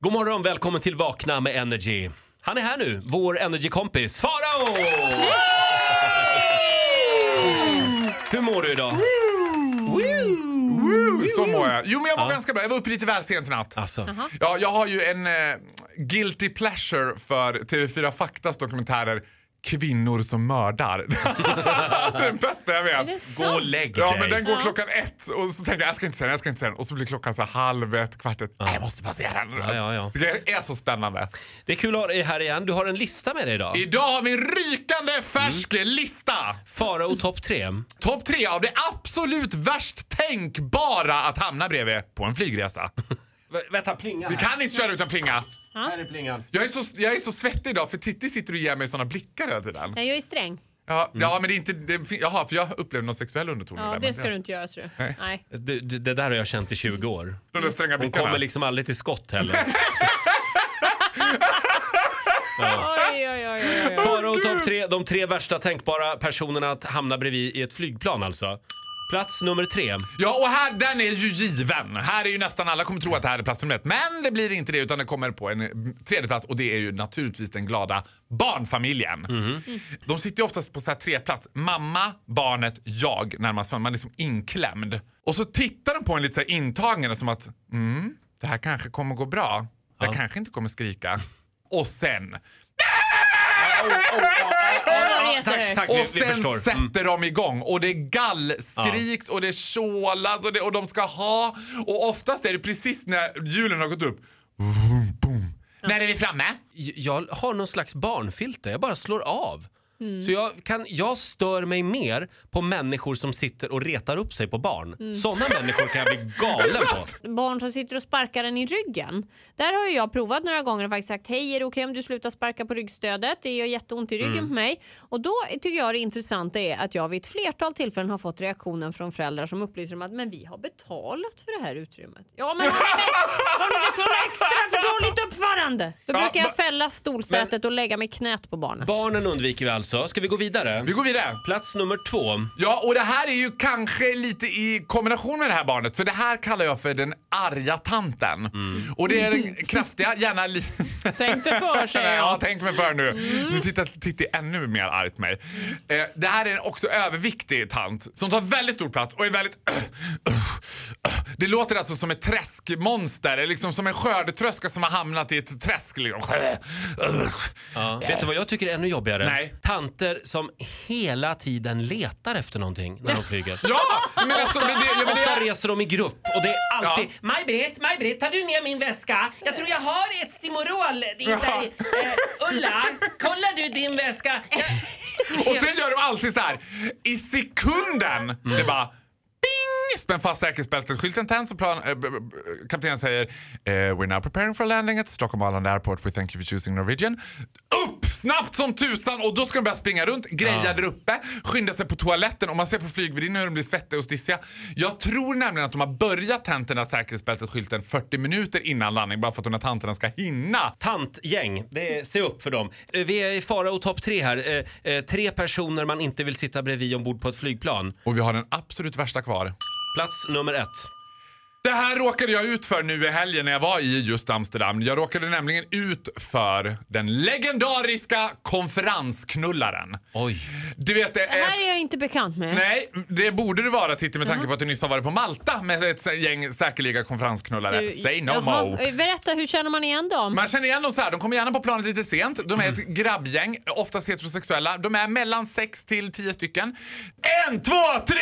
God morgon, välkommen till Vakna med Energy. Han är här nu, vår energikompis Farao! Hur mår du idag? Mm, Så mår jag. Jo, men jag mår ganska bra. Jag var uppe lite väl sent i natt. Alltså, Ja, jag har ju en eh, guilty pleasure för TV4 Faktas dokumentärer Kvinnor som mördar. det är den bästa jag vet. gå och lägg dig. Ja, men den går klockan ett och så tänker jag jag ska inte se den, jag ska inte se den. Och så blir klockan så här halv ett, kvart ett. Nej, jag måste bara se den. Ja, ja, ja. Det är så spännande. Det är kul att ha dig här igen. Du har en lista med dig idag. Idag har vi en rykande färsk Mm. lista. Farao topp tre. Topp tre av det absolut värst tänkbara att hamna bredvid på en flygresa. Vänta, plinga Vi kan inte köra utan plinga. Här är plingan. Jag är, så, jag är så svettig idag för Titti sitter och ger mig såna blickar hela tiden. Nej, jag är sträng. Ja, ja men det är inte... Det, fin- jaha, för jag upplevde någon sexuell underton. i Mm. Ja, där, det men ska du inte göra, ser du. Nej. Det, det det där har jag känt i 20 år. De där stränga Hon blickarna. kommer liksom aldrig till skott heller. Oj, oj, oj, oj, oj. Farao topp tre, de tre värsta tänkbara personerna att hamna bredvid i ett flygplan alltså. Plats nummer tre. Ja, och här, den är ju given. Här är ju nästan alla kommer tro att det här är plats nummer ett. Men det blir inte det utan det kommer på en eh, tredje plats och det är ju naturligtvis den glada barnfamiljen. De sitter ju oftast på så här tre plats. Mamma, barnet, jag närmast. fram. Man är liksom inklämd. Och så tittar de på en lite så här intagande som att mm, det här kanske kommer gå bra. Jag kanske inte kommer skrika. Och sen Ja, det är Tack, jättehögt. tack, vi, Och vi sen förstår. Mm. sätter de igång och det gallskriks och det tjålas och, det, och de ska ha. Och oftast är det precis när hjulen har gått upp. Vroom, boom. När är vi framme? jag har någon slags barnfilter, jag bara slår av. Mm. Så jag, kan, jag stör mig mer på människor som sitter och retar upp sig på barn. Mm. Sådana människor kan jag bli galen på. Barn som sitter och sparkar en i ryggen. Där har ju jag provat några gånger och faktiskt sagt hej, är det okej om du slutar sparka på ryggstödet? Det gör jätteont i ryggen på mig. Och då tycker jag det intressanta är att jag vid ett flertal tillfällen har fått reaktionen från föräldrar som upplyser om att men vi har betalat för det här utrymmet. Ja, men har ni, har ni betalat extra för dåligt uppförande? Då Ja, brukar jag men- fälla stolsätet och lägga mig i knät på barnet. Barnen undviker vi alltså. Ska vi gå vidare? Vi går vidare. Plats nummer två. Ja, och det här är ju kanske lite i kombination med det här barnet. För det här kallar jag för den arga tanten. Mm. Och det är den kraftiga, gärna lite... Tänkte för säger Ja, jag. tänk mig för nu. Nu tittar Titti ännu mer argt på mig. Eh, det här är en också överviktig tant som tar väldigt stor plats och är väldigt... Det låter alltså som ett träskmonster, eller liksom som en skördetröska som har hamnat i ett träsk. Liksom. Ja. Vet du vad jag tycker är ännu jobbigare? Nej. Tanter som hela tiden letar efter någonting när de flyger. Ja, men alltså... Men det, ja, men Ofta det, reser de i grupp och det är alltid Ja. Maj-Britt, Maj-Britt, tar du ner min väska? Jag tror jag har ett Stimorol i Ja. dig. Eh, Ulla, kollar du din väska? Jag... och sen gör de alltid så här. I sekunden, det bara... Bing! Spänn fast säkerhetsbältet, skylten tänds och plan, eh, b- b- kaptenen säger eh, We're now preparing for landing at Stockholm Arlanda Airport. We thank you for choosing Norwegian. Upp snabbt som tusan och då ska de börja springa runt, greja där uppe, skynda sig på toaletten och man ser på flygvärdinnan hur de blir svettiga och stissiga. Jag tror nämligen att de har börjat tänderna säkerhetsbältet, skylten 40 minuter innan landning bara för att de här tanterna ska hinna. Tantgäng, det är, se upp för dem. Eh, Vi är i fara och topp tre här. Eh, eh, tre personer man inte vill sitta bredvid ombord på ett flygplan. Och vi har den absolut värsta kvar. Plats nummer ett. Det här råkade jag ut för nu i helgen när jag var i just Amsterdam. Jag råkade nämligen ut för den legendariska konferensknullaren. Oj. Du vet, det Det är här är Mm. jag inte bekant med. Nej, det borde det vara Titti med tanke på att du nyss har varit på Malta med ett gäng säkerliga konferensknullare. Du- Say Äh, no Jaha, mo. eh, Berätta, hur känner man igen dem? Man känner igen dem så här, de kommer gärna på planet lite sent. De är ett grabbgäng, oftast heterosexuella. De är mellan 6 till 10 stycken. En, två, tre!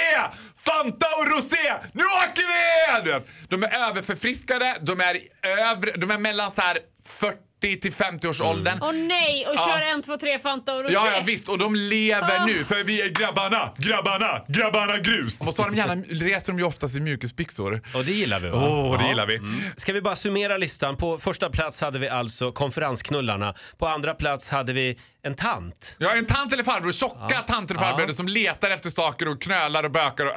Fanta och rosé! Nu åker vi! Du vet, De är överförfriskade, de är i övre, de är mellan så här 40 till 50 års åldern. Åh nej, och Ja. kör en, två, tre Fanta och rosé. Ja, ja, visst. Och de lever Ah. nu, för vi är grabbarna, grabbarna, grabbarna grus. Och så har de gärna, reser de ju oftast i mjukisbyxor. Mm. Och det gillar vi va? Åh, det Ja. gillar vi. Ska vi bara summera listan? På första plats hade vi alltså konferensknullarna. På andra plats hade vi en tant. Ja, en tant eller farbror, tjocka tanter och farbröder som letar efter saker och knölar och bökar och,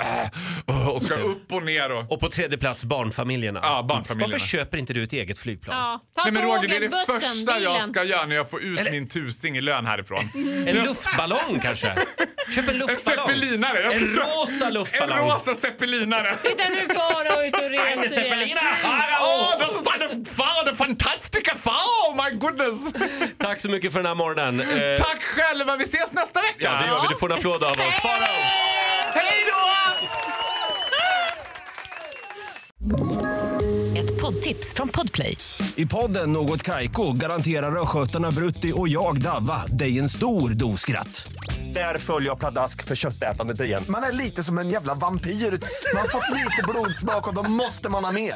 äh, och ska upp och ner och... Och på tredje plats barnfamiljerna. Ja, barnfamiljerna. Varför köper inte du ett eget flygplan? Ja, Ta Nej men tåget, Roger, det är det bussen, första bilen. jag ska göra när jag får ut min tusing i lön härifrån. En luftballong kanske? Köp en En luftballong. zeppelinare! Jag ska En köpa- rosa En luftballong. rosa zeppelinare! Titta nu fara ut och reser igen. Åh, oh, det är så fan- fan, det är fantastiskt! my goodness! Tack så mycket för den här morgonen. Eh, Tack själva, vi ses nästa vecka! ja, det gör vi. Du får en applåd av oss. Farao! Hej då! Ett poddtips från Podplay. I podden Något Kaiko garanterar östgötarna Brutti och jag, Davva, dig en stor dos skratt. Där följer jag pladask för köttätandet igen. Man är lite som en jävla vampyr. Man har fått lite blodsmak och då måste man ha mer.